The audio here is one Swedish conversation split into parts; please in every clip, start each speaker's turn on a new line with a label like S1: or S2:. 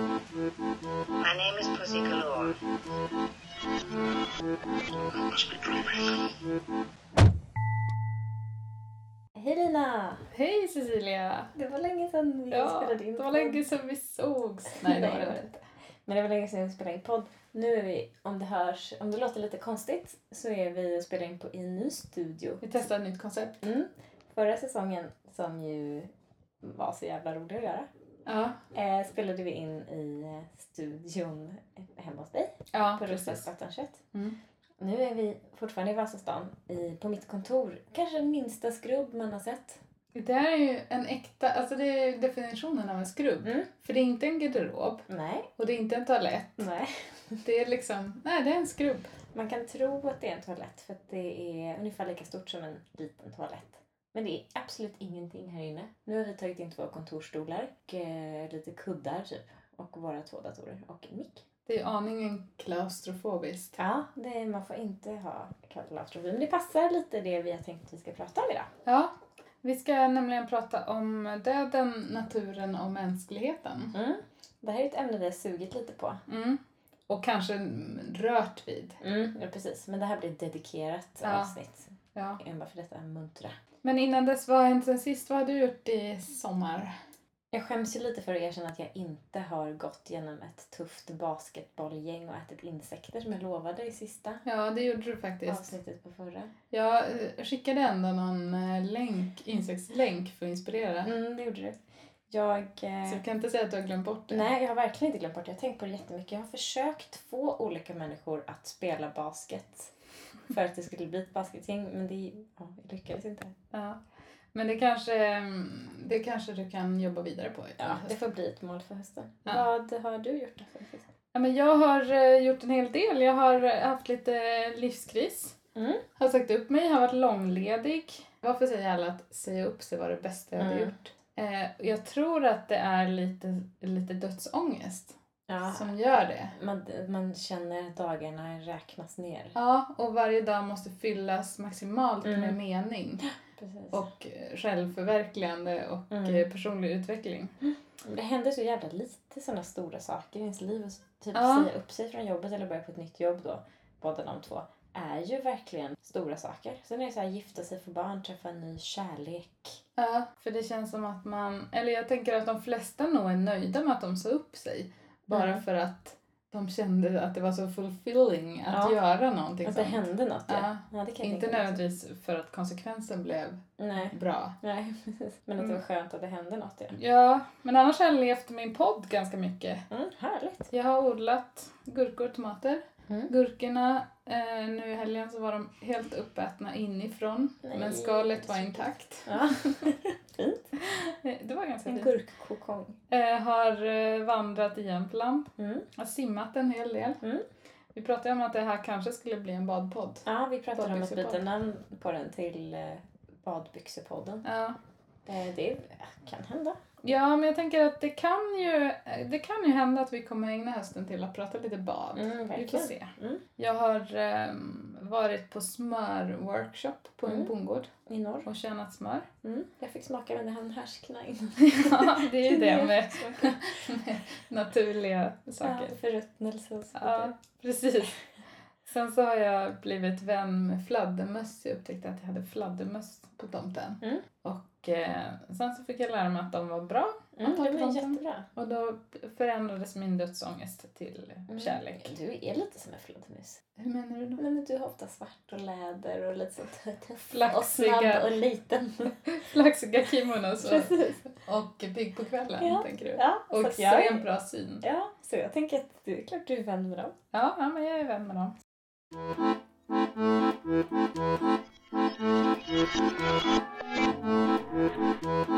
S1: My name is Pussy
S2: I
S1: Galore.
S2: must be dreaming.
S3: Hej Lina!
S4: Hej Cecilia!
S3: Det var länge sedan vi
S4: Ja,
S3: spelade in
S4: det var
S3: podd.
S4: länge sedan vi sågs. Nej, det var det inte.
S3: Men det var länge sedan vi spelade in podd. Nu är vi, om det hörs, om det låter lite konstigt, så är vi och spelar in på, i en ny studio.
S4: Vi testar ett nytt koncept.
S3: Mm. Förra säsongen, som ju var så jävla rolig att göra,
S4: Ja,
S3: eh, spelade vi in i eh, studion hemma hos dig
S4: ja
S3: på
S4: precis.
S3: Roslagsgatan 21.
S4: Mm.
S3: Nu är vi fortfarande i Vasastan, i, på mitt kontor. Kanske den minsta skrubb man har sett.
S4: Det här är ju en äkta, alltså det är definitionen av en skrubb.
S3: Mm.
S4: För det är inte en garderob
S3: Nej,
S4: och det är inte en toalett.
S3: nej.
S4: Det är liksom, nej det är en skrubb.
S3: Man kan tro att det är en toalett för att det är ungefär lika stort som en liten toalett. Men det är absolut ingenting här inne. Nu har vi tagit in två kontorsstolar och eh, lite kuddar typ. Och våra två datorer och en mick.
S4: Det är aningen klaustrofobiskt.
S3: Ja, det, man får inte ha klaustrofobi. Men det passar lite det vi har tänkt att vi ska prata om idag.
S4: Ja, vi ska nämligen prata om döden, naturen och mänskligheten.
S3: Mm. Det här är ett ämne vi har sugit lite på.
S4: Mm. Och kanske mm, rört vid.
S3: Mm. Ja, precis. Men det här blir ett dedikerat
S4: Ja.
S3: avsnitt.
S4: Ja.
S3: Enbart för detta muntra.
S4: Men innan dess, vad har hänt sen sist? Vad har du gjort i sommar?
S3: Jag skäms ju lite för att erkänna att jag inte har gått genom ett tufft basketbollgäng och ätit insekter som jag lovade i sista
S4: Ja, det gjorde du faktiskt.
S3: avsnittet på förra.
S4: Jag eh, skickade ändå någon eh, länk, insektslänk för att inspirera.
S3: Mm, det gjorde du. Jag...
S4: Så
S3: Eh,
S4: jag kan inte säga att du har glömt bort det.
S3: nej, jag har verkligen inte glömt bort det. Jag har tänkt på det jättemycket. Jag har försökt få olika människor att spela basket för att det skulle bli ett basketgäng, men det ja, jag lyckades inte.
S4: Ja. Men det kanske, mm, det kanske du kan jobba vidare på.
S3: Ja, det får bli ett mål för hösten.
S4: Ja.
S3: Vad har du gjort? då?
S4: Ja, men jag har eh, gjort en hel del. Jag har eh, haft lite livskris.
S3: Mm.
S4: Har sagt upp mig, har varit långledig. Varför säger alla att säga upp sig var det bästa jag hade
S3: Mm.
S4: gjort? Eh, jag tror att det är lite, lite dödsångest
S3: Ja,
S4: som gör det.
S3: man, man känner att dagarna räknas ner.
S4: Ja, och varje dag måste fyllas maximalt
S3: Mm.
S4: med mening
S3: Precis.
S4: och eh, självförverkligande och
S3: Mm.
S4: eh, personlig utveckling.
S3: Men Det händer så jävla lite sådana stora saker i ens liv. Och så- typ
S4: Ja.
S3: säga upp sig från jobbet eller börja på ett nytt jobb då, båda de två, är ju verkligen stora saker. Sen är det så här gifta sig, få barn, träffa en ny kärlek.
S4: Ja, för det känns som att man, eller jag tänker att de flesta nog är nöjda med att de sa upp sig. Bara
S3: Mm.
S4: för att de kände att det var så fulfilling att
S3: Ja.
S4: göra någonting
S3: Att det
S4: sånt.
S3: hände något. Ja.
S4: Ja.
S3: Ja, det kan jag
S4: Inte
S3: tänka mig.
S4: nödvändigtvis för att konsekvensen blev
S3: Nej.
S4: bra.
S3: Nej, precis. Men att det var
S4: Mm.
S3: skönt att det hände något. Ja.
S4: Ja, men annars har jag levt min podd ganska mycket.
S3: Mm, härligt.
S4: Jag har odlat gurkor och tomater.
S3: Mm.
S4: Gurkorna, eh, nu i helgen så var de helt uppätna inifrån.
S3: Nej,
S4: men skalet
S3: det är
S4: var
S3: så
S4: intakt.
S3: Ja. Fint.
S4: Eh, Det var ganska
S3: En
S4: fint.
S3: gurkkokong.
S4: Eh, har eh, vandrat i Jämtland.
S3: Mm.
S4: Har simmat en hel del.
S3: Mm.
S4: Vi pratade ju om att det här kanske skulle bli en badpodd.
S3: Ja, vi pratade om att byta
S4: Badbyxepodd.
S3: namn på den till eh, Badbyxepodden.
S4: Ja.
S3: Eh, Det eh, kan hända.
S4: ja, men jag tänker att det kan, ju, eh, det kan ju hända att vi kommer ägna hösten till att prata lite bad.
S3: Mm,
S4: Vi får
S3: verkligen.
S4: se.
S3: Mm.
S4: Jag har ehm, varit på smörworkshop på en
S3: Mm.
S4: bondgård
S3: I norr.
S4: och tjänat smör.
S3: Mm. Jag fick smaka men det hann härskna innan.
S4: Ja, det är ju det med
S3: Smaka.
S4: naturliga
S3: Ja,
S4: saker.
S3: förruttnelse och så
S4: Ja,
S3: vidare.
S4: precis. Sen så har jag blivit vän med fladdermöss. Jag upptäckte att jag hade fladdermöss på tomten.
S3: Mm.
S4: Och eh, sen så fick jag lära mig att de var bra.
S3: Mm,
S4: Ja,
S3: det var
S4: tomten.
S3: jättebra.
S4: Och då förändrades min dödsångest till
S3: Mm.
S4: kärlek.
S3: Du är lite som en fladdermus.
S4: Hur menar du då?
S3: Nej, men du har ofta svart och läder och lite så t- tuff och snabb
S4: Flaxiga.
S3: och liten.
S4: Flaxiga kimonos och,
S3: Precis.
S4: och pigg på kvällen,
S3: Ja.
S4: tänker du.
S3: Ja,
S4: Och
S3: så att jag
S4: extremt
S3: är,
S4: bra syn.
S3: ja, så jag tänker att det är klart du är vän med dem.
S4: Ja, ja, men jag är vän med dem.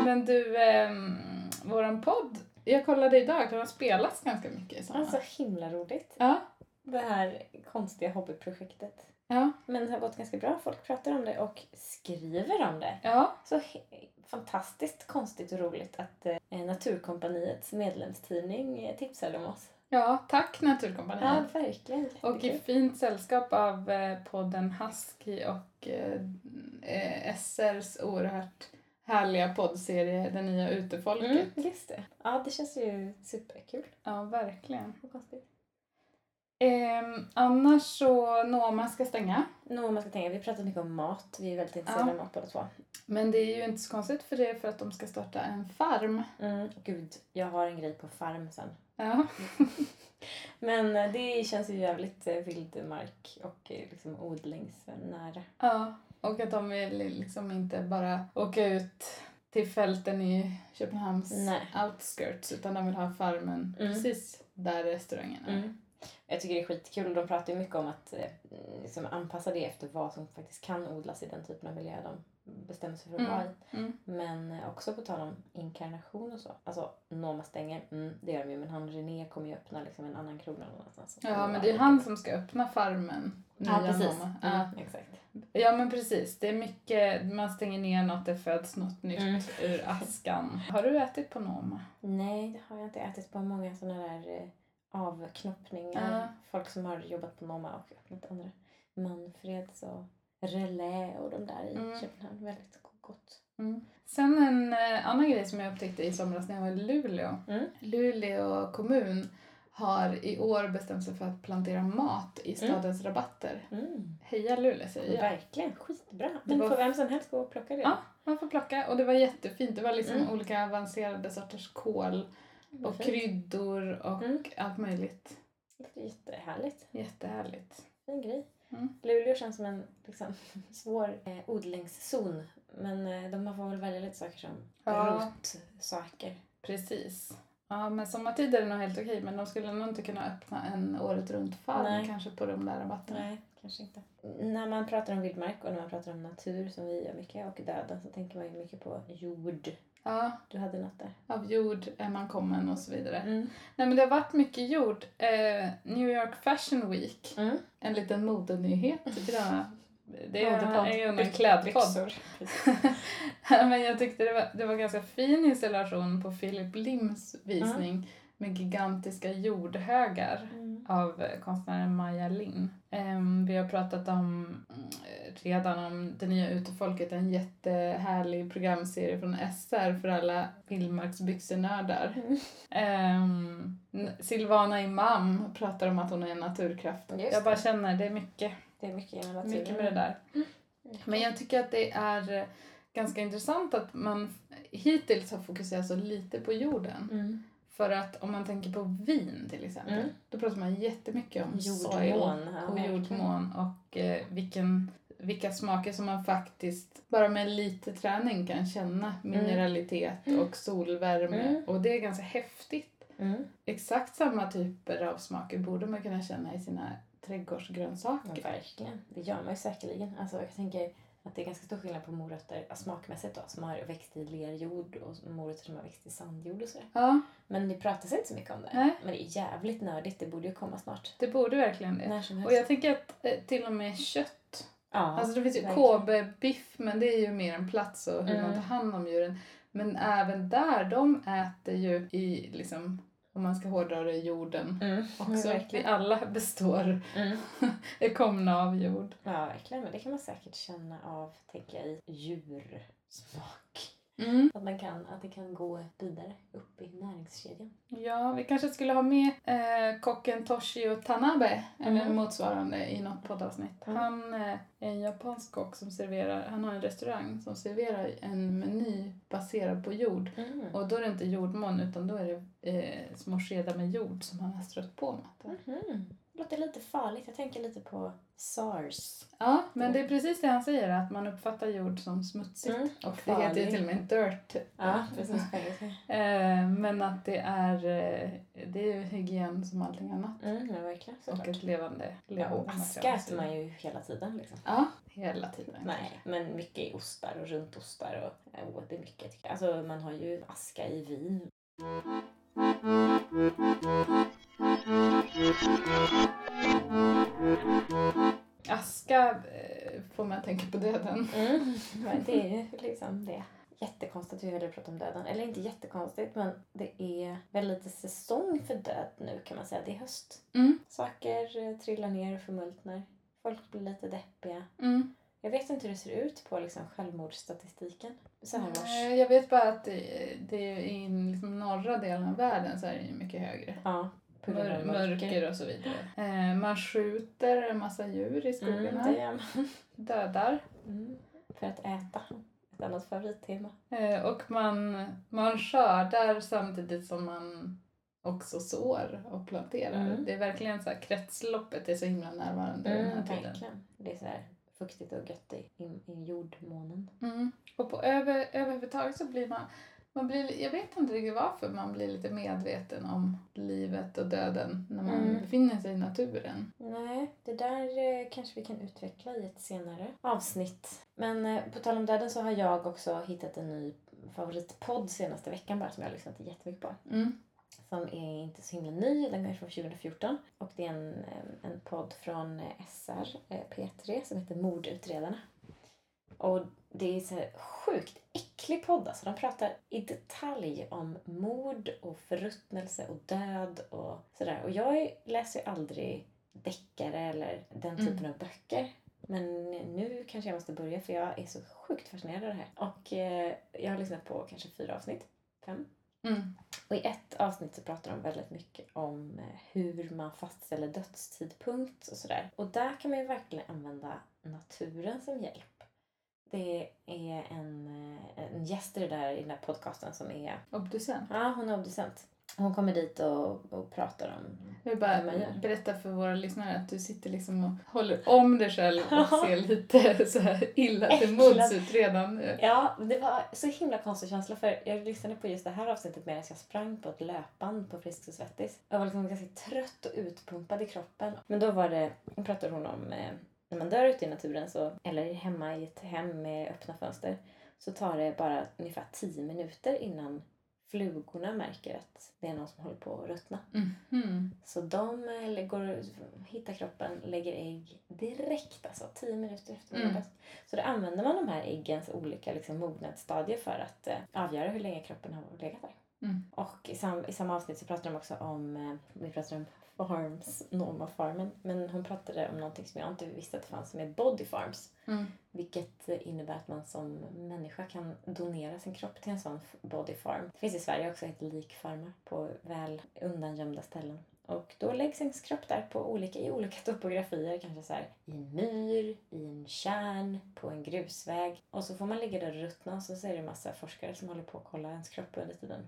S4: Men du, ehm, våran podd. Jag kollade idag, den har spelats ganska mycket i sommar.
S3: Ja, så Alltså, himla roligt.
S4: Ja,
S3: Det här konstiga hobbyprojektet.
S4: ja,
S3: Men det har gått ganska bra. Folk pratar om det och skriver om det.
S4: ja.
S3: Så he- fantastiskt konstigt och roligt att eh, Naturkompaniets medlemstidning eh, tipsade om oss.
S4: Ja, tack Naturkompaniet.
S3: Ja, verkligen.
S4: Och i
S3: Jättekul.
S4: fint sällskap av eh, podden Husky och eh, eh, SRs oerhört härliga poddserie Det nya utefolket.
S3: Mm, just det. Ja, det känns ju superkul.
S4: Ja, verkligen.
S3: Vad konstigt.
S4: Ehm, annars så, Noma ska stänga.
S3: Nå, man ska tänka, vi pratar mycket om mat. Vi är väldigt intresserade av mat båda två.
S4: Men det är ju inte så konstigt för det är för att de ska starta en farm.
S3: Mm, gud, jag har en grej på farm sen.
S4: Ja,
S3: Men eh, det känns ju jävligt eh, vildmark och eh, liksom odlingsnära.
S4: ja. och att de vill liksom inte bara åka ut till fälten i Köpenhamns
S3: Nej.
S4: outskirts utan de vill ha farmen
S3: Mm.
S4: precis där restaurangen är.
S3: Mm. Jag tycker det är skitkul. De pratar ju mycket om att eh, liksom anpassa det efter vad som faktiskt kan odlas i den typen av miljö de bestämmer sig för att
S4: Mm.
S3: vara i.
S4: Mm.
S3: Men eh, också på tal om inkarnation och så. Alltså, Noma stänger, mm, det gör de ju. Men han René kommer ju öppna liksom en annan krona någon annanstans.
S4: Ja, men det är ju han som ska öppna farmen.
S3: Ja,
S4: nya
S3: precis.
S4: Noma. Ja.
S3: Mm, exakt.
S4: ja, men precis. Det är mycket, man stänger ner något, det föds något nytt
S3: Mm.
S4: ur askan. Har du ätit på Noma?
S3: Nej, det har jag inte ätit på många sådana där eh, avknoppningar.
S4: Ja.
S3: Folk som har jobbat på Noma och öppnat andra. Manfreds och Relais och de där i
S4: Mm.
S3: Köpenhamn. Väldigt gott.
S4: Sen en eh, annan grej som jag upptäckte i somras när jag var i Luleå.
S3: Mm.
S4: Luleå kommun har i år bestämt sig för att plantera mat i stadens rabatter.
S3: Mm.
S4: Heja Luleå säger jag.
S3: Verkligen, skitbra.
S4: Det
S3: Men
S4: var-
S3: får vem som helst gå och plocka det?
S4: Ja, Man får plocka och det var jättefint. Det var liksom
S3: Mm.
S4: olika avancerade sorters kål
S3: Vad
S4: och
S3: fint.
S4: kryddor och
S3: Mm.
S4: allt möjligt.
S3: Det är jättehärligt.
S4: Jättehärligt.
S3: Fin grej.
S4: Mm.
S3: Luleå känns som en liksom, svår eh, odlingszon. Men eh, de- man får väl välja lite saker som
S4: Ja.
S3: rotsaker.
S4: Precis. Ja, men sommartid är det nog helt okej men de skulle nog inte kunna öppna en året runt farm
S3: Nej.
S4: kanske på de där rabatterna.
S3: Nej, kanske inte. När man pratar om vildmark och när man pratar om natur som vi gör mycket och döden så tänker man ju mycket på jord.
S4: Ja,
S3: Du hade något där.
S4: av jord är man kommen och så vidare.
S3: Mm.
S4: Nej men det har varit mycket gjort. Eh, New York Fashion Week,
S3: Mm.
S4: en liten modenyhet. i denna- Det är ju en,
S3: Modepodd.
S4: är ju en
S3: Byx-
S4: klädpodd.
S3: byxor. Precis.
S4: Nej, men jag tyckte det var, det var ganska fin installation på Philip Lims visning med gigantiska jordhögar
S3: Mm.
S4: av eh, konstnären Maja Lind. Ehm, vi har pratat om mm, eh, redan om Det nya utefolket, en jättehärlig programserie från SR för alla vildmarksbyxenördar.
S3: Mm.
S4: Ehm, N- Silvana Imam pratar om att hon är en naturkraft.
S3: Just
S4: jag bara
S3: det. Mm.
S4: känner, det är mycket,
S3: Det är mycket genom naturen.
S4: mycket med det där. Men jag tycker att det är eh, ganska intressant att man hittills har fokuserat så lite på jorden.
S3: Mm.
S4: För att om man tänker på vin till exempel,
S3: Mm.
S4: då pratar man jättemycket om soil
S3: Jordmån. ja,
S4: och
S3: verkligen.
S4: jordmån och eh, vilken, vilka smaker som man faktiskt bara med lite träning kan känna. Mineralitet och solvärme.
S3: Mm.
S4: Och det är ganska häftigt.
S3: Mm.
S4: Exakt samma typer av smaker borde man kunna känna i sina
S3: Ja,
S4: trädgårdsgrönsaker.
S3: verkligen. Det gör man ju säkerligen. Alltså, jag tänker att det är ganska stor skillnad på morötter ja, smakmässigt då, som har växt i lerjord och morötter som har växt i sandjord och sådär.
S4: Ja,
S3: Men det pratas inte så mycket om det.
S4: Nej.
S3: Men det är jävligt nördigt. Det borde ju komma snart.
S4: det borde verkligen det.
S3: När som helst.
S4: Och jag tänker att eh, till och med kött.
S3: ja,
S4: Alltså det finns ju
S3: verkligen.
S4: KB-biff men det är ju mer en plats och hur man
S3: Mm.
S4: tar hand om djuren. Men även där, de äter ju i liksom, om man ska hårdra det, jorden.
S3: Mm,
S4: också. Vi
S3: verkligen.
S4: alla består,
S3: Mm.
S4: är komna av jord.
S3: Ja, verkligen. Men det kan man säkert känna av, tänker jag, i djursmak. Att, man kan, att det kan gå vidare upp i näringskedjan.
S4: Ja, vi kanske skulle ha med eh, kocken Toshio Tanabe, eller
S3: Mm.
S4: motsvarande, i något poddavsnitt.
S3: Mm.
S4: Han eh, är en japansk kock som serverar, han har en restaurang som serverar en meny baserad på jord.
S3: Mm.
S4: Och då är det inte jordmån utan då är det eh, små skedar med jord som han har strött på maten.
S3: Mhm. Det låter lite farligt. Jag tänker lite på sars.
S4: Ja, men det är precis det han säger, att man uppfattar jord som smutsigt.
S3: Mm.
S4: Och det heter ju
S3: Farlig.
S4: till och med dirt.
S3: Ja, precis. på engelska.
S4: Eh, men att det är, eh, det är ju hygien som allting annat.
S3: Mm, ja, verkligen.
S4: Och
S3: Såklart.
S4: ett levande
S3: Ja,
S4: levande
S3: och aska
S4: material.
S3: äter man ju hela tiden. Liksom.
S4: Ja, hela tiden.
S3: Nej, men mycket i ostar och runtostar och oh, det är mycket. tycker jag. Alltså man har ju aska i vin.
S4: Aska eh, får man tänka på döden.
S3: Men Mm. det är ju liksom det. Jättekonstigt att vi väljer att prata om döden. Eller inte jättekonstigt, men det är väl lite säsong för död nu kan man säga. Det är höst.
S4: Mm.
S3: Saker eh, trillar ner och förmultnar. Folk blir lite deppiga.
S4: Mm.
S3: Jag vet inte hur det ser ut på liksom självmordsstatistiken så här års.
S4: Nej, Eh, Jag vet bara att det, det är i liksom norra delen av världen så är den ju mycket högre.
S3: Ja, på grund
S4: Mör,
S3: av
S4: mörker och så vidare. Eh, man skjuter en massa djur i skogarna.
S3: Mm, det gör man.
S4: Dödar.
S3: Mm. För att äta. Ett annat favorittema.
S4: Eh, och man, man skördar samtidigt som man också sår och planterar.
S3: Mm.
S4: Det är verkligen så här, kretsloppet är så himla närvarande den här tiden.
S3: verkligen. Det är så här fuktigt och gött i, i, i jordmånen.
S4: Mm. Och på över, överhuvudtaget så blir man, man blir, jag vet inte riktigt varför, man blir lite medveten om livet och döden när man
S3: Mm.
S4: befinner sig i naturen.
S3: Nej, det där eh, kanske vi kan utveckla i ett senare avsnitt. Men eh, på tal om döden så har jag också hittat en ny favoritpodd senaste veckan bara som jag har lyssnat jättemycket på.
S4: Mm.
S3: som är inte så himla ny. Den är från 2014 och det är en, eh, en podd från eh, SR, eh, P3, som heter Mordutredarna. Och det är så här sjukt äcklig podd alltså. De pratar i detalj om mord och förruttnelse och död och sådär. Och jag läser ju aldrig deckare eller den
S4: Mm.
S3: typen av böcker. Men nu kanske jag måste börja för jag är så sjukt fascinerad av det här. Och eh, jag har lyssnat på kanske fyra avsnitt, fem.
S4: Mm.
S3: Och i ett avsnitt så pratar de väldigt mycket om eh, hur man fastställer dödstidpunkt och sådär. Och där kan man ju verkligen använda naturen som hjälp. Det är en, eh, en gäst i, det där, i den där podcasten som är,
S4: Obducent.
S3: ja hon är obducent. Hon kommer dit och, och pratar om
S4: Jag vill bara
S3: Hur man gör.
S4: berätta för våra lyssnare att du sitter liksom och håller om dig själv och ser lite så här illa till mods ut redan nu.
S3: Ja, det var så himla konstig känsla för jag lyssnade på just det här avsnittet medan jag sprang på ett löpband på Frisk och Svettis. Jag var liksom ganska trött och utpumpad i kroppen. Men då var det, då pratade hon om eh, när man dör ute i naturen så, eller hemma i ett hem med öppna fönster så tar det bara ungefär 10 minuter innan flugorna märker att det är någon som håller på att ruttna.
S4: Mhm.
S3: Så de eh, lä- går, hittar kroppen, lägger ägg direkt, alltså 10 minuter efter
S4: Mm.
S3: mm. Så då använder man de här äggens olika liksom, mognadsstadier för att eh, avgöra hur länge kroppen har legat där.
S4: Mm.
S3: Och i, sam, i samma avsnitt så pratar de också om, eh, vi pratar om farms, Norma farmen, men hon pratade om någonting som jag inte visste att det fanns som är body farms.
S4: Mm.
S3: Vilket innebär att man som människa kan donera sin kropp till en sån f- body farm. Det finns i Sverige också ett likfarmar på väl undangömda ställen. Och då läggs ens kropp där på olika, i olika topografier. Kanske så här, i en myr, i en kärn, på en grusväg. Och så får man ligga där och ruttna och så ser det en massa forskare som håller på att kolla ens kropp under tiden.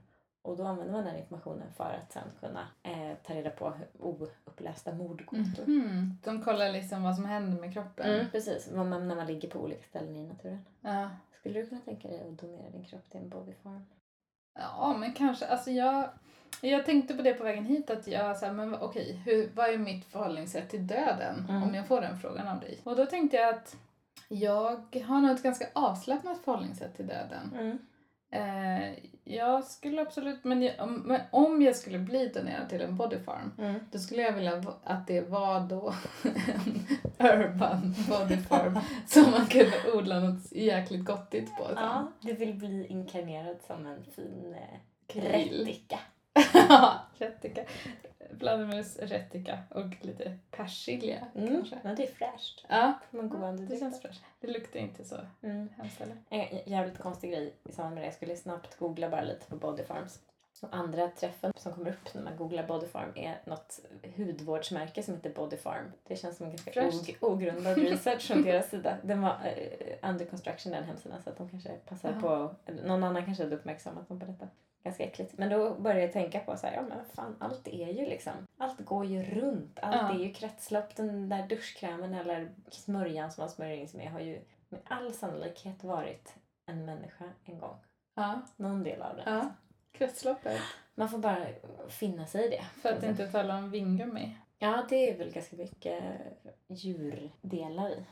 S3: Och då använder man den informationen för att sen kunna eh, ta reda på hur- oupplästa mordgåtor.
S4: Mhm. De kollar liksom vad som händer med kroppen.
S3: Mm, precis, vad man, när man ligger på olika ställen i naturen.
S4: Ja.
S3: Skulle du kunna tänka dig att donera din kropp till en bodyfarm?
S4: Ja, men kanske. Alltså jag, jag tänkte på det på vägen hit att jag så här, men okej, hur, vad är mitt förhållningssätt till döden
S3: Mm.
S4: om jag får den frågan av dig? Och då tänkte jag att jag har nog ett ganska avslappnat förhållningssätt till döden.
S3: Mm.
S4: Eh, jag skulle absolut, men, jag, om, men om jag skulle bli donerad till en bodyfarm
S3: Mm.
S4: då skulle jag vilja v- att det var då en urban bodyfarm som man kunde odla något jäkligt gottigt på. sen.
S3: Ja, du vill bli inkarnerad som en fin eh,
S4: Krill.
S3: rättika.
S4: Ja, rättika. Vladimir's rättika och lite persilja
S3: Mm.
S4: kanske.
S3: Ja, det är fräscht.
S4: Ja,
S3: Får man gå
S4: Ja,
S3: an
S4: det
S3: direkt.
S4: känns fräscht. Det luktar inte så
S3: Mm.
S4: hemskt heller.
S3: En jä- jävligt konstig grej i samband med det. Jag skulle snabbt googla bara lite på bodyfarms. Och andra träffen som kommer upp när man googlar bodyfarm är något hudvårdsmärke som heter bodyfarm. Det känns som en ganska
S4: Fräscht.
S3: og- ogrundad research från deras sida. Den var eh, under construction den hemsidan så att de kanske passar
S4: Jaha.
S3: på, någon annan kanske hade uppmärksammat dem på detta. Ganska äckligt. Men då började jag tänka på så här, ja men vad fan allt är ju liksom, allt går ju runt. Allt
S4: Ja.
S3: är ju kretslopp. Den där duschkrämen eller smörjan som man smörjer in sig med har ju med all sannolikhet varit en människa en gång.
S4: Ja,
S3: Någon del av det.
S4: ja. Kretsloppet.
S3: Man får bara finna sig i det.
S4: För att inte tala om vingummi.
S3: Ja, det är väl ganska mycket djurdelar i.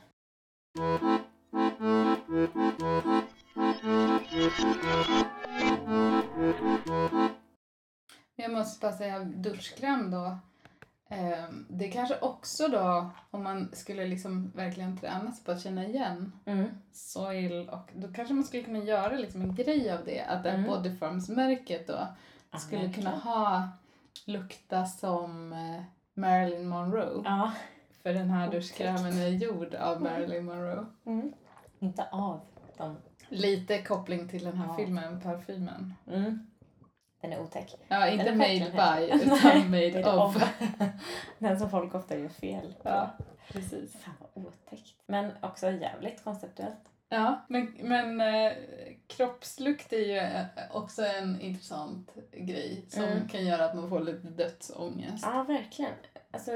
S4: Men jag måste bara säga duschkräm då. Ehm, Det kanske också då, om man skulle liksom verkligen träna sig på att känna igen
S3: Mm.
S4: soil och då kanske man skulle kunna göra liksom en grej av det. Att mm.
S3: Mm.
S4: bodyformsmärket då
S3: Ja,
S4: skulle
S3: verkligen.
S4: kunna ha lukta som eh, Marilyn Monroe.
S3: Ja,
S4: För den här duschkrämen är gjord av Marilyn Monroe.
S3: Mm. Inte av dem.
S4: Lite koppling till den här
S3: Ja.
S4: filmen, parfymen.
S3: Mm. Den är otäck.
S4: Ja, inte
S3: Eller
S4: made by,
S3: verkligen.
S4: utan
S3: Nej,
S4: made of.
S3: Den som folk ofta gör fel på.
S4: Ja, precis.
S3: Fan vad otäckt. Men också jävligt konceptuellt.
S4: Ja, men, men eh, kroppslukt är ju eh, också en intressant grej som
S3: Mm.
S4: kan göra att man får lite dödsångest.
S3: Ja, verkligen. Alltså,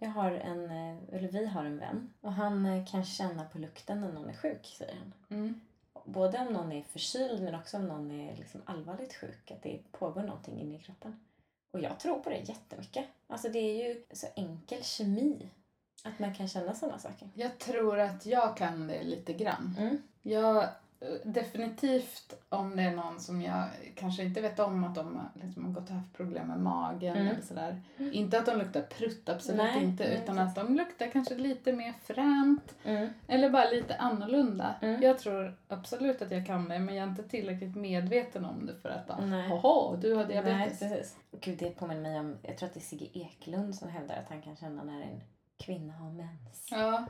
S3: jag har en, eh, eller vi har en vän och han eh, kan känna på lukten när någon är sjuk, säger han.
S4: Mm.
S3: Både om någon är förkyld men också om någon är liksom allvarligt sjuk, att det pågår någonting inne i kroppen. Och jag tror på det jättemycket. Alltså det är ju så enkel kemi att man kan känna sådana saker.
S4: Jag tror att jag kan det lite grann.
S3: Mm.
S4: Jag, eh, definitivt om det är någon som jag kanske inte vet om att de har- liksom, har gått och haft problem med magen
S3: Mm.
S4: eller sådär. Inte att de luktar prutt, absolut
S3: Nej,
S4: inte,
S3: nej,
S4: utan
S3: precis.
S4: att de luktar kanske lite mer fränt
S3: Mm.
S4: eller bara lite annorlunda.
S3: Mm.
S4: Jag tror absolut att jag kan det, men jag är inte tillräckligt medveten om det för att bara,
S3: Nej.
S4: Jaha, du har
S3: Nej,
S4: diabetes.
S3: precis. Gud, det påminner mig om, jag tror att det är Sigge Eklund som hävdar att han kan känna när en kvinna har mens.
S4: Ja.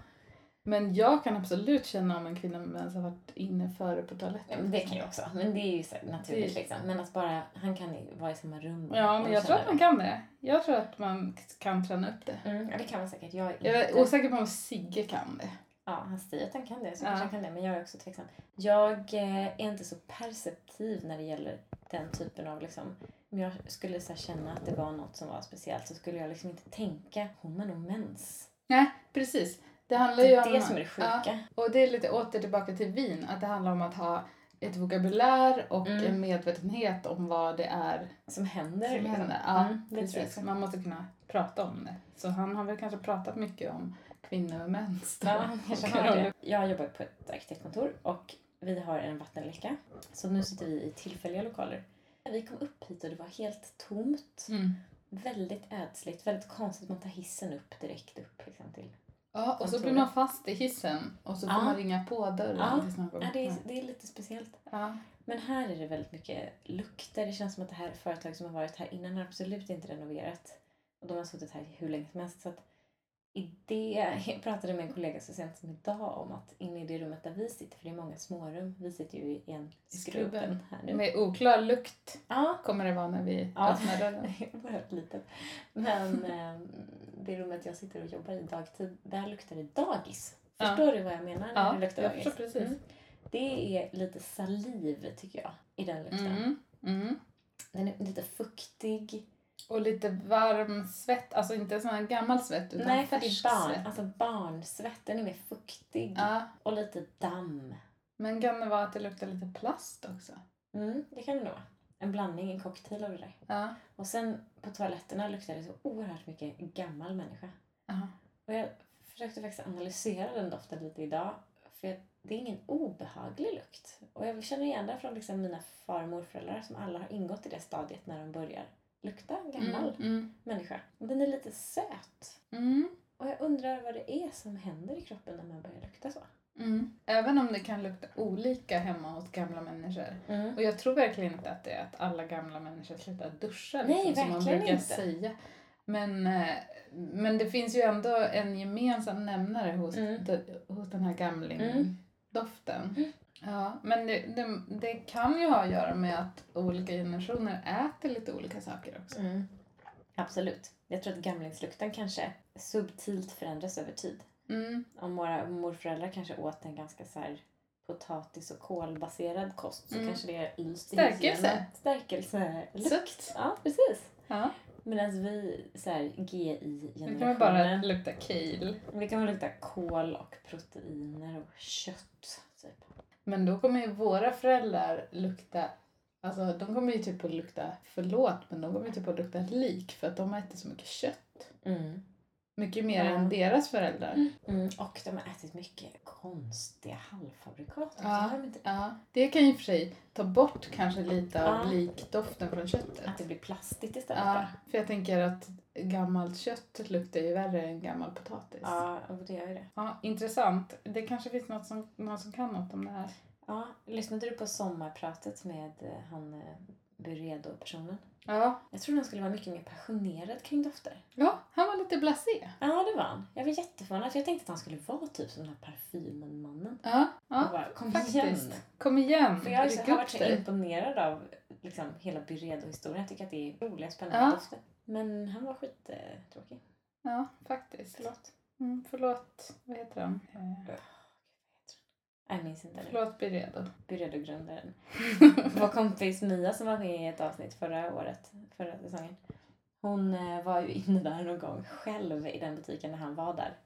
S4: Men jag kan absolut känna om en kvinna med mens har varit inne före på
S3: Ja,
S4: toaletten.
S3: men det kan jag också, men det är ju så här naturligt
S4: Det-
S3: liksom. Men att bara, han kan ju vara i samma rum.
S4: Ja, men
S3: och
S4: jag tror
S3: känna
S4: att man kan det. Jag tror att man kan träna upp det.
S3: det. Mm, ja, det kan man säkert. Jag, är
S4: Jag
S3: inte-
S4: är osäker på om Sigge kan det.
S3: Ja, han säger att han kan det, så
S4: Ja.
S3: kanske han kan det. Men jag är också tveksam. Jag eh, är inte så perceptiv när det gäller den typen av liksom... Om jag skulle så här, känna att det var något som var speciellt så skulle jag liksom inte tänka hon har nog mens.
S4: Nej, precis. Det handlar
S3: Det
S4: ju
S3: är
S4: om...
S3: det som är det sjuka.
S4: Ja, och det är lite åter tillbaka till vin, att det handlar om att ha ett vokabulär och
S3: Mm.
S4: en medvetenhet om vad det är
S3: Som händer.
S4: som
S3: liksom.
S4: händer. Ja,
S3: Mm, det tror jag
S4: precis.
S3: också.
S4: Man måste kunna prata om det. Så han har väl kanske pratat mycket om kvinnor och mens. då.
S3: Ja, han kanske
S4: Och
S3: har
S4: roller.
S3: det. Jag jobbar på ett arkitektkontor och vi har en vattenläcka. Så nu sitter vi i tillfälliga lokaler. När vi kom upp hit och det var helt tomt.
S4: Mm.
S3: Väldigt ädsligt, väldigt konstigt. Man tar hissen upp direkt upp liksom, till
S4: Ja, och så blir man fast i hissen och så får
S3: Ja.
S4: man ringa på dörren
S3: Ja.
S4: tills någon kommer.
S3: Ja, det, är, det är lite speciellt.
S4: Ja.
S3: Men här är det väldigt mycket lukter. Det känns som att det här företag som har varit här innan har absolut inte renoverat. Och de har suttit här hur länge som helst. Så att i det, jag pratade med en kollega så sent som idag om att inne i det rummet där vi sitter, för det är många smårum, vi sitter ju i en
S4: I skrubben.
S3: skrubben här nu.
S4: Med oklar lukt
S3: Ja,
S4: kommer det vara när vi
S3: Ja.
S4: öppnar dörren.
S3: det är oerhört litet. Men eh, det rummet jag sitter och jobbar i dagtid, där luktar det dagis.
S4: Ja.
S3: Förstår du vad jag menar? när
S4: Ja,
S3: det luktar
S4: jag
S3: dagis?
S4: förstår precis.
S3: Mm. Det är lite saliv tycker jag i den lukten.
S4: Mm. Mm.
S3: Den är lite fuktig.
S4: Och lite varm svett, alltså inte sån här gammal svett utan
S3: Nej, för det
S4: färsk
S3: är barn.
S4: svett.
S3: Alltså barnsvett. Den är mer fuktig.
S4: Ja.
S3: Och lite damm.
S4: Men kan det vara att det luktar lite plast också?
S3: Mm, det kan det nog vara. En blandning, en cocktail av det där.
S4: Ja.
S3: Och sen på toaletterna luktar det så oerhört mycket gammal människa.
S4: Aha.
S3: Och jag försökte faktiskt analysera den doften lite idag. För jag, det är ingen obehaglig lukt. Och jag känner igen den från liksom mina far och morföräldrar som alla har ingått i det stadiet när de börjar lukta gammal
S4: Mm. Mm.
S3: människa. Och den är lite söt.
S4: Mm.
S3: Och jag undrar vad det är som händer i kroppen när man börjar lukta så.
S4: Mm. Även om det kan lukta olika hemma hos gamla människor. Och jag tror verkligen inte att det är att alla gamla människor slutar duscha, liksom,
S3: Nej,
S4: som man
S3: verkligen
S4: brukar
S3: inte.
S4: säga. Men, eh, men det finns ju ändå en gemensam nämnare hos,
S3: Mm.
S4: de, hos den här
S3: Mm.
S4: gamlingdoften. Ja, men det, det, det kan ju ha att göra med att olika generationer äter lite olika saker också.
S3: Mm. Absolut. Jag tror att gamlingslukten kanske subtilt förändras över tid.
S4: Mm.
S3: Om våra morföräldrar kanske åt en ganska så här potatis och kolbaserad kost så
S4: Mm.
S3: kanske det är yst i
S4: Stärkelse.
S3: hygierna. Stärkelselukt.
S4: Sukt.
S3: Ja, precis.
S4: Ja.
S3: Medan vi så här
S4: Det kan väl bara
S3: GI-generationen,
S4: lukta kale.
S3: vi kan väl lukta kol och proteiner och kött. Typ.
S4: Men då kommer ju våra föräldrar lukta Alltså de kommer ju typ att lukta, förlåt, men de kommer ju typ att lukta lik för att de äter så mycket kött.
S3: Mm.
S4: Mycket mer
S3: Ja.
S4: än deras föräldrar.
S3: Mm, och de har ätit mycket konstiga halvfabrikat. också.
S4: Ja.
S3: Har de inte-
S4: Ja. Det kan ju i och för sig ta bort kanske lite av
S3: Ja.
S4: likdoften från köttet.
S3: Att det blir plastigt istället.
S4: Ja,
S3: bara.
S4: för jag tänker att gammalt kött luktar ju värre än gammal potatis.
S3: ja och det gör ju det.
S4: Ja, intressant. Det kanske finns något som, någon som kan något om det här.
S3: Ja, lyssnade du på sommarpratet med eh, han eh, Buredo-personen.
S4: Ja.
S3: Jag trodde han skulle vara mycket mer passionerad kring dofter.
S4: ja, han var lite blasé.
S3: Ja, det var han. Jag var jätteförvånad för jag tänkte att han skulle vara typ som den här parfymen-mannen.
S4: Ja,
S3: Jag
S4: ja.
S3: bara, kom igen!
S4: Faktiskt. Kom igen.
S3: För jag har ju så-
S4: ryck
S3: har
S4: upp
S3: varit så
S4: dig.
S3: imponerad av liksom, hela Byredo-historien. Jag tycker att det är roliga, spännande
S4: Ja.
S3: dofter. Men han var eh, skittråkig.
S4: Ja, faktiskt.
S3: Förlåt.
S4: Mm, förlåt. Vad heter han? Eh,
S3: Jag minns inte nu.
S4: förlåt, bli redo.
S3: Byredo-grundaren. Vår kompis Mia som var med i ett avsnitt förra året, förra säsongen. Hon eh, var ju inne där någon gång själv i den butiken när han var där.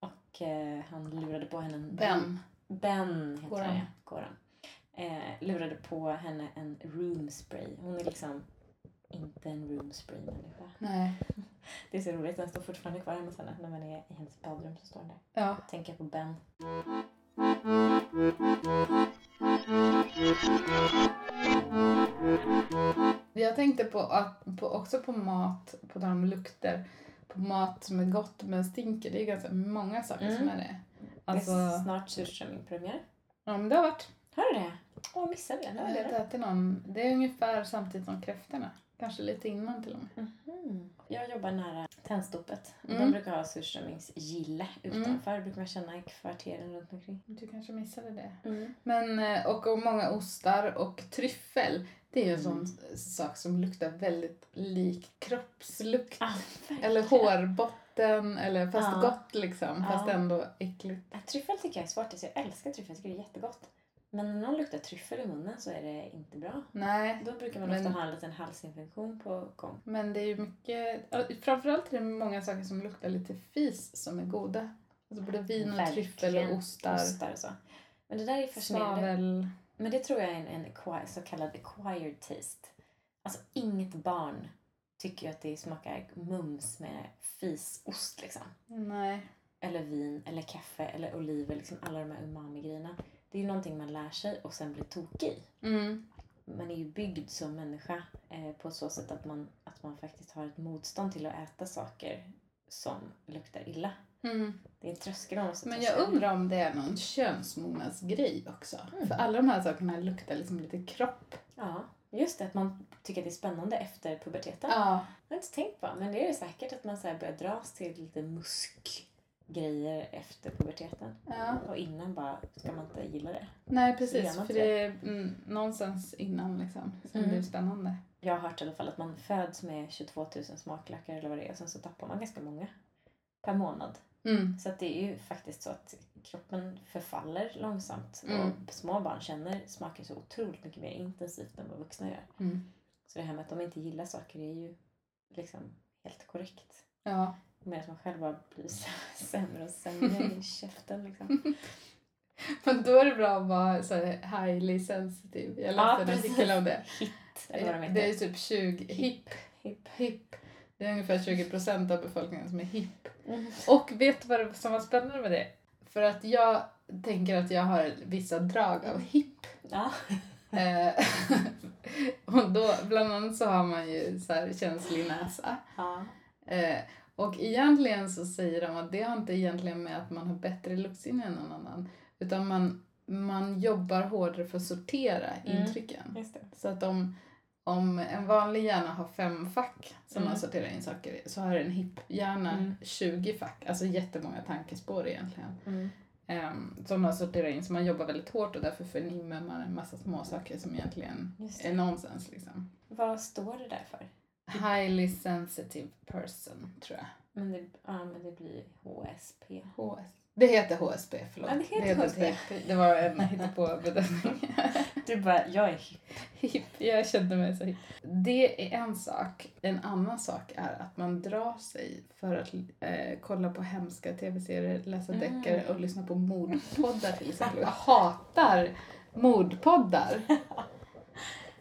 S3: Och eh, han lurade på henne en...
S4: Vem?
S3: Ben heter
S4: Goran.
S3: han, ja. Goran. Eh, lurade på henne en room spray. Hon är liksom inte en room spray människa.
S4: Nej.
S3: Det är så roligt, den står fortfarande kvar hemma hos henne. När man är i hennes badrum så står den där.
S4: Ja.
S3: Tänker på Ben.
S4: Jag tänkte på att, på, också på mat, på tal om lukter. På mat som är gott men stinker. Det är ju ganska många saker
S3: Mm.
S4: som är det.
S3: Det
S4: Alltså,
S3: är snart surströmmingspremiär.
S4: ja, men det har varit.
S3: Hör du det? Åh, missade jag.
S4: Jag
S3: Hör
S4: har
S3: du
S4: inte
S3: det?
S4: ätit någon. Det är ungefär samtidigt som kräftorna. Kanske lite innan till och med.
S3: Mhm. Jag jobbar nära Tennstopet.
S4: Mm.
S3: De brukar ha surströmmingsgille
S4: Mm.
S3: utanför. brukar man känna i kvarteren runt omkring.
S4: Du kanske missade det.
S3: Mm.
S4: Men, eh, och, och många ostar och tryffel. Det är ju en
S3: Mm.
S4: sån s- sak som luktar väldigt lik kroppslukt.
S3: Ah,
S4: Eller hårbotten, eller fast
S3: Ja.
S4: gott liksom. Fast
S3: Ja.
S4: ändå äckligt.
S3: Ja, Ah, Tryffel tycker jag är svårt. Alltså, Jag älskar tryffel. Jag tycker det är jättegott. Men när någon luktar tryffel i munnen så är det inte bra.
S4: Nej.
S3: Då brukar man
S4: Men-
S3: ofta ha en liten halsinfektion på gång.
S4: Men det är ju mycket, ja, framförallt är det många saker som luktar lite fis som är goda. Alltså både vin och
S3: Verkligen.
S4: tryffel och ostar.
S3: Ostar och så. Men det där är fascinerande.
S4: Svavel.
S3: Men det tror jag är en, en acqui- så kallad acquired taste. Alltså inget barn tycker ju att det smakar mums med fisost liksom.
S4: Nej.
S3: Eller vin, eller kaffe, eller oliver. Liksom alla de här umami-grejerna. Det är ju någonting man lär sig och sen blir tokig i.
S4: Mm.
S3: man är ju byggd som människa eh, på så sätt att man, att man faktiskt har ett motstånd till att äta saker som luktar illa.
S4: Mm.
S3: Det är en tröskel man måste
S4: Men
S3: ta
S4: jag
S3: sig över.
S4: undrar om det är någon könsmognadsgrej också.
S3: Mm.
S4: För alla de här sakerna luktar liksom lite kropp.
S3: Ja, just det. Att man tycker att det är spännande efter puberteten.
S4: Ja.
S3: Jag har inte tänkt på, men det är det säkert att man så här börjar dras till lite muskgrejer efter puberteten.
S4: ja.
S3: Och innan bara, ska man inte gilla det?
S4: Nej
S3: Gör
S4: precis,
S3: man inte
S4: för det är mm, någonstans innan liksom som
S3: Mm.
S4: det är spännande.
S3: Jag har hört i alla fall att man föds med 22 000 smaklökar eller vad det är och sen så tappar man ganska många per månad.
S4: Mm.
S3: Så att det är ju faktiskt så att kroppen förfaller långsamt
S4: Mm.
S3: och små barn känner smaker så otroligt mycket mer intensivt än vad vuxna gör.
S4: Mm.
S3: Så det här med att de inte gillar saker är ju liksom helt korrekt.
S4: Ja.
S3: Medan man själv bara blir s- sämre och sämre i käften liksom.
S4: Men då är det bra att vara så här highly sensitive. Jag läste en
S3: precis.
S4: artikel om det.
S3: Hit, eller vad de
S4: Det är
S3: heter.
S4: ju typ 20, hipp,
S3: Hip.
S4: hipp. Det är ungefär 20% av befolkningen som är hipp.
S3: Mm.
S4: Och vet du vad det- som var spännande med det? För att jag tänker att jag har vissa drag av hipp.
S3: Ja.
S4: Eh, och då, bland annat så har man ju så här känslig näsa.
S3: ja.
S4: Eh, och egentligen så säger de att det har inte egentligen med att man har bättre luktsinne än någon annan. Utan man, man jobbar hårdare för att sortera
S3: Mm.
S4: intrycken.
S3: Just det.
S4: Så att om, om en vanlig hjärna har fem fack som
S3: Mm.
S4: man sorterar in saker i så har en hipp-hjärna
S3: Mm.
S4: 20 fack. Alltså jättemånga tankespår egentligen.
S3: Mm.
S4: Um, som man sorterar in, så man jobbar väldigt hårt och därför förnimmer man en massa små saker som egentligen
S3: Just det.
S4: är nonsens.
S3: Mm.
S4: Liksom.
S3: Vad står det där för?
S4: Highly sensitive person, tror jag.
S3: Men det, ja, men det blir HSP.
S4: HS. Det heter HSP, förlåt.
S3: Ja, det heter HSP.
S4: Det var en hittepåbedömning.
S3: Du bara, jag är hip.
S4: Hipp, jag kände mig så hipp. Det är en sak. En annan sak är att man drar sig för att eh, kolla på hemska tv-serier, läsa
S3: Mm.
S4: deckare och lyssna på mordpoddar till exempel. Jag hatar mordpoddar.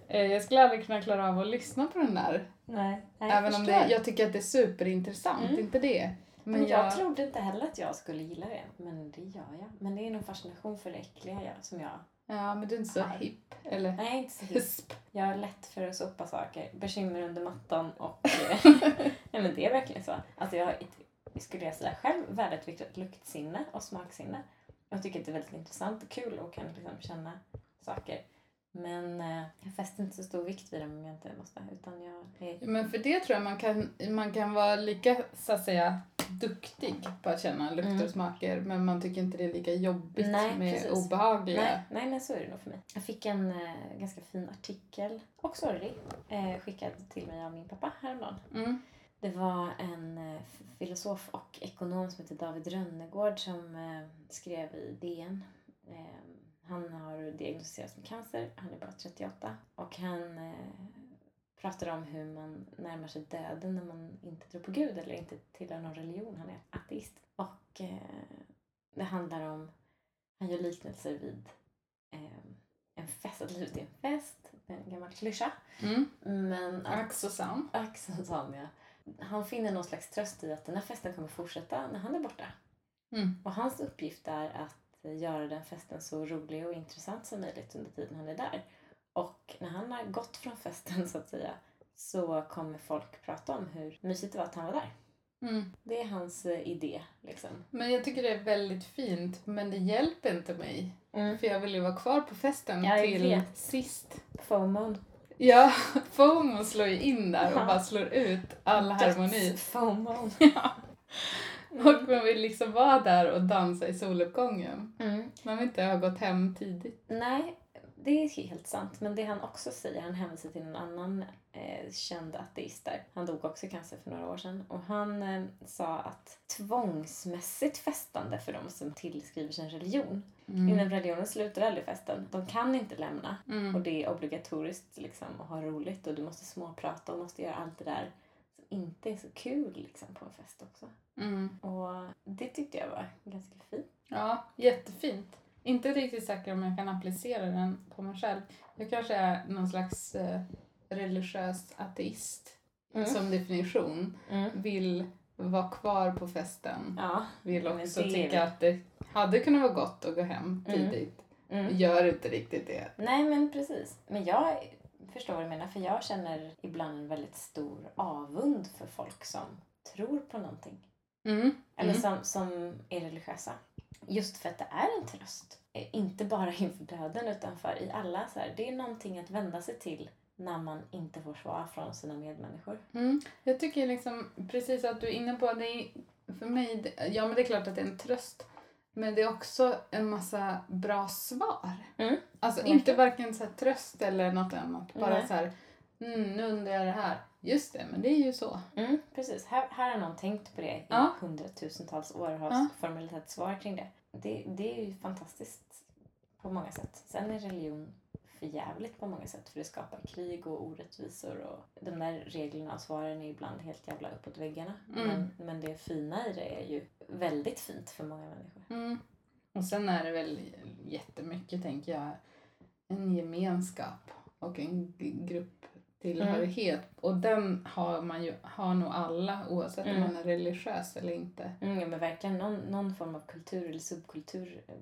S4: Eh, jag skulle aldrig kunna klara av att lyssna på den där.
S3: Nej, nej jag
S4: Även om
S3: förstår.
S4: det, jag tycker att det är superintressant,
S3: Mm.
S4: inte det.
S3: Men jag, trodde inte heller att jag skulle gilla det, men det gör jag. Men det är någon fascination för det äckliga jag, som jag...
S4: Ja, men du är inte så
S3: Här.
S4: hipp. Eller
S3: Nej, inte så hipp.
S4: husp.
S3: Jag är lätt för att sopa saker, bekymmer under mattan och... eh, nej men det är verkligen så. Alltså jag har, ett- skulle jag säga själv, välutvecklat luktsinne och smaksinne. Jag tycker att det är väldigt intressant och kul och kan liksom känna saker. Men eh, jag fäster inte så stor vikt vid dem om jag inte måste. Utan jag är...
S4: Men för det tror jag man kan, man kan vara lika så att säga duktig på att känna lukter
S3: Mm.
S4: och smaker men man tycker inte det är lika jobbigt
S3: Nej,
S4: med
S3: precis.
S4: obehagliga.
S3: Nej, nej, men så är det nog för mig. Jag fick en eh, ganska fin artikel, och sorglig, eh, skickad till mig av min pappa häromdagen.
S4: Mm.
S3: Det var en eh, filosof och ekonom som heter David Rönnegård som eh, skrev i DN. Eh, han har diagnostiserats med cancer, han är bara 38 och han eh, pratade om hur man närmar sig döden när man inte tror på Gud eller inte tillhör någon religion, han är ateist. Och eh, det handlar om, han gör liknelser vid eh, en fest, att livet är en fest, det är en gammal klyscha.
S4: Mm.
S3: Men att
S4: Ack så sant.
S3: Axel Tanja. Han finner någon slags tröst i att den här festen kommer fortsätta när han är borta.
S4: Mm.
S3: Och hans uppgift är att göra den festen så rolig och intressant som möjligt under tiden han är där. Och när han har gått från festen så att säga så kommer folk prata om hur mysigt det var att han var där.
S4: Mm.
S3: Det är hans eh, idé liksom.
S4: Men jag tycker det är väldigt fint men det hjälper inte mig.
S3: Mm.
S4: För jag vill ju vara kvar på festen
S3: Ja, jag
S4: till
S3: vet.
S4: sist.
S3: FOMO.
S4: Ja, FOMO slår ju in där och
S3: Ja.
S4: bara slår ut all harmoni.
S3: FOMO.
S4: Och man vill liksom vara där och dansa i soluppgången.
S3: Mm.
S4: Man vill inte ha gått hem tidigt.
S3: Nej, det är ju helt sant. Men det han också säger, han hänvisar till en annan eh, känd ateist där. Han dog också i cancer för några år sedan. Och han eh, sa att tvångsmässigt festande för de som tillskriver sig en religion. Inom religionen slutar aldrig festen. De kan inte lämna.
S4: Mm.
S3: Och det är obligatoriskt liksom, att ha roligt och du måste småprata och måste göra allt det där som inte är så kul liksom, på en fest också.
S4: Mm.
S3: Och det tyckte jag var ganska fint.
S4: Ja, jättefint. Inte riktigt säker om jag kan applicera den på mig själv. Jag kanske är någon slags eh, religiös ateist som definition.
S3: Mm.
S4: Vill vara kvar på festen.
S3: Ja.
S4: Vill
S3: men
S4: också
S3: det är vi.
S4: tycka att det hade kunnat vara gott att gå hem
S3: Mm.
S4: tidigt.
S3: Mm.
S4: Gör inte riktigt det.
S3: Nej, men precis. Men jag förstår vad du menar, för jag känner ibland en väldigt stor avund för folk som tror på någonting.
S4: Mm.
S3: Eller
S4: Mm.
S3: som, som är religiösa. Just för att det är en tröst. Eh, Inte bara inför döden, utan för i alla. Så här, det är någonting att vända sig till när man inte får svar från sina medmänniskor.
S4: Mm. Jag tycker liksom precis att du är inne på det. är- För mig, det- ja men det är klart att det är en tröst. Men det är också en massa bra svar.
S3: Mm.
S4: Alltså
S3: Verkligen.
S4: inte varken så här tröst eller något annat. Bara
S3: Nej.
S4: så här, mm, nu undrar jag det här. Just det, men det är ju så.
S3: Mm, precis. Här, här har någon tänkt på det i
S4: Ja.
S3: hundratusentals år och har
S4: Ja.
S3: formulerat ett svar kring det. det. Det är ju fantastiskt på många sätt. Sen är religion förjävligt på många sätt för det skapar krig och orättvisor och de där reglerna och svaren är ibland helt jävla uppåt väggarna.
S4: Mm.
S3: Men, men det fina i det är ju väldigt fint för många människor.
S4: Mm. Och sen är det väl jättemycket, tänker jag, en gemenskap och en g- grupptillhörighet. Och den har man ju, har nog alla oavsett
S3: Mm.
S4: om man är religiös eller inte.
S3: Mm, ja, men verkligen någon, någon form av kultur eller subkultur eh,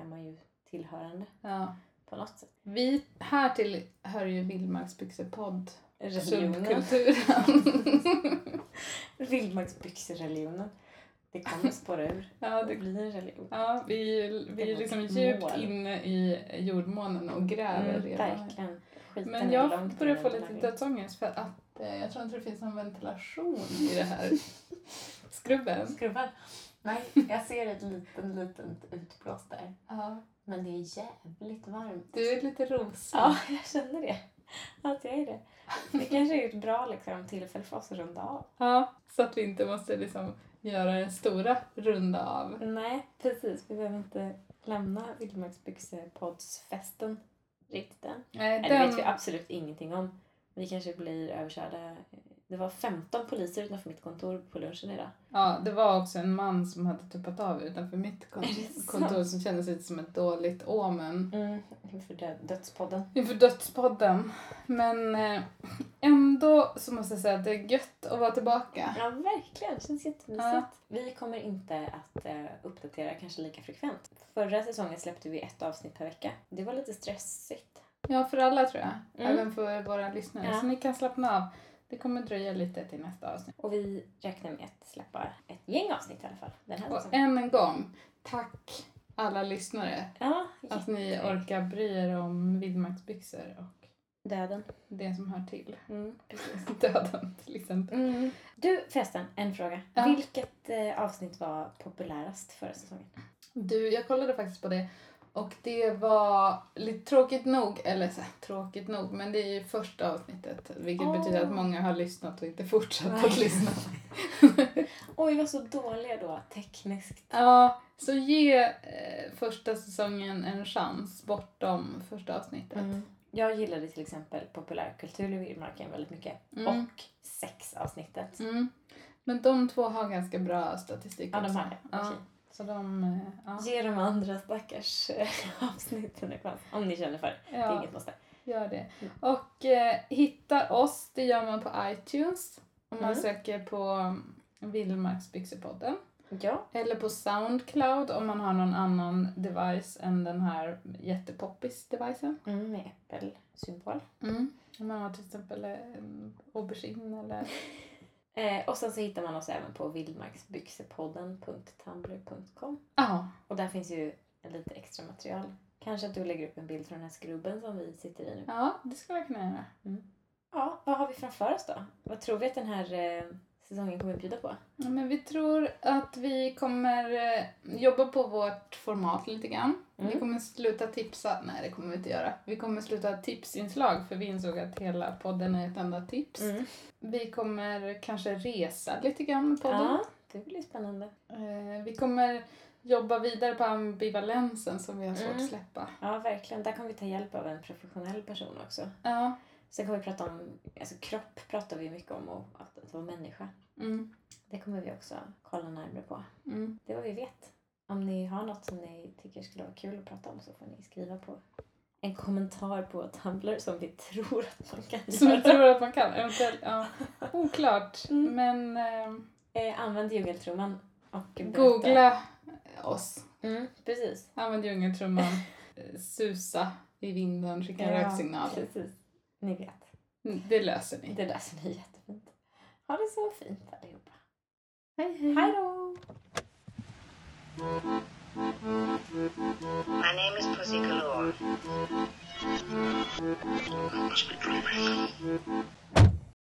S3: är man ju tillhörande
S4: Ja.
S3: på något sätt.
S4: Vi, här till hör ju Vildmarksbyxepodd,
S3: Religionen.
S4: subkulturen.
S3: typ Vildmarksbyxereligionen. Det kommer spåra ur.
S4: ja,
S3: Det
S4: det,
S3: blir en religion.
S4: ja, vi är ju vi är ju liksom djupt inne i jordmånen och gräver
S3: Mm,
S4: redan.
S3: verkligen. Skiten
S4: Men
S3: är
S4: jag
S3: långt
S4: börjar
S3: ner
S4: få
S3: under
S4: lite
S3: lagen.
S4: dödsångest för att eh, jag tror inte det finns någon ventilation i det här skrubben.
S3: Skruvad. Nej, jag ser ett litet, litet utblås där.
S4: Ja,
S3: Men det är jävligt varmt.
S4: du är lite rosig.
S3: Ja, jag känner det. Att jag är det. Det kanske är ett bra liksom, tillfälle för oss att runda av.
S4: Ja, så att vi inte måste liksom göra den stora runda av.
S3: Nej, precis. Vi behöver inte lämna Vildmarksbyxepoddsfesten riktigt än.
S4: Nej,
S3: Nej,
S4: den...
S3: Det vet vi absolut ingenting om. Vi kanske blir överkörda. Det var 15 poliser utanför mitt kontor på lunchen idag.
S4: Ja, det var också en man som hade tuppat av utanför mitt kon-
S3: Är det sant?
S4: kontor som kändes lite som ett dåligt omen
S3: Mm, inför dö- dödspodden.
S4: inför Dödspodden. Men eh, ändå så måste jag säga att det är gött att vara tillbaka.
S3: Ja, verkligen. Det känns jättemysigt.
S4: Ja.
S3: Vi kommer inte att eh, uppdatera kanske lika frekvent. Förra säsongen släppte vi ett avsnitt per vecka. Det var lite stressigt.
S4: Ja, för alla tror jag.
S3: Mm.
S4: Även för våra lyssnare.
S3: Ja.
S4: Så ni kan slappna av. Det kommer dröja lite till nästa avsnitt.
S3: Och vi räknar med att släppa ett gäng avsnitt i alla fall. Den här
S4: Och
S3: säsongen.
S4: än en gång, tack alla lyssnare
S3: Ja,
S4: att ni
S3: jättetrevligt.
S4: orkar bry er om vildmarksbyxor och
S3: Döden.
S4: det som hör till.
S3: Mm.
S4: Döden till exempel.
S3: Mm. Du förresten, en fråga.
S4: Ja.
S3: Vilket eh, avsnitt var populärast förra säsongen?
S4: Du, jag kollade faktiskt på det och det var lite tråkigt nog, eller så här, tråkigt nog, men det är ju första avsnittet vilket
S3: Åh.
S4: betyder att många har lyssnat och inte fortsatt
S3: Nej.
S4: att lyssna.
S3: Oj, vad så dåliga då tekniskt.
S4: Ja, så ge eh, första säsongen en chans bortom första avsnittet.
S3: Mm. Jag gillade till exempel populärkultur i vildmarken väldigt mycket.
S4: Mm.
S3: Och sexavsnittet.
S4: Mm. Men de två har ganska bra statistik
S3: Ja, de
S4: också.
S3: har det.
S4: Ja,
S3: Okej.
S4: Så de... eh, Ja,
S3: Ge de andra stackars eh, avsnitten en chans. Om ni känner för det. Det är
S4: ja
S3: inget måste.
S4: gör det.
S3: Mm.
S4: Och eh, hitta oss, det gör man på iTunes. Om man
S3: Mm.
S4: söker på Vildmarksbyxepodden.
S3: Ja.
S4: Eller på Soundcloud om man har någon annan device än den här jättepoppis-devicen.
S3: Mm, med äppelsymbol.
S4: Mm. Om man har till exempel en aubergine eller...
S3: Eh, och sen så hittar man oss även på vildmarksbyxepodden.tumblr.com.
S4: Ja,
S3: Och där finns ju lite extra material. Kanske att du lägger upp en bild från den här skrubben som vi sitter i nu.
S4: ja det skulle jag kunna göra.
S3: Ja, vad har vi framför oss då? Vad tror vi att den här eh, säsongen kommer bjuda på?
S4: Ja, men vi tror att vi kommer eh, jobba på vårt format lite grann.
S3: Mm.
S4: Vi kommer sluta tipsa. Nej, det kommer vi inte göra. Vi kommer sluta ha tipsinslag för vi insåg att hela podden är ett enda tips.
S3: Mm.
S4: Vi kommer kanske resa lite grann med podden.
S3: Ja, det blir spännande.
S4: Eh, Vi kommer jobba vidare på ambivalensen som vi har svårt
S3: Mm.
S4: att släppa.
S3: Ja, verkligen. Där kommer vi ta hjälp av en professionell person också.
S4: Ja.
S3: Sen kommer vi prata om, alltså kropp pratar vi mycket om och att, att vara människa.
S4: Mm.
S3: Det kommer vi också kolla närmare på.
S4: Mm.
S3: Det är vad vi vet. Om ni har något som ni tycker skulle vara kul att prata om så får ni skriva på en kommentar på Tumblr som vi tror att man kan
S4: Som jag
S3: göra.
S4: tror att man kan. Eventuellt, ja. Oklart.
S3: Mm.
S4: Men eh,
S3: Eh, använd djungeltrumman och berätta.
S4: googla oss.
S3: Mm, precis.
S4: Använd djungeltrumman, eh, susa i vinden, skicka en röksignal.
S3: Precis. Ni vet.
S4: Mm, Det löser ni.
S3: Det löser ni jättefint. Ha det så fint allihopa.
S4: Hej, hej.
S3: Hej då!
S1: My name is Pussy Galore.
S2: I must be dreaming.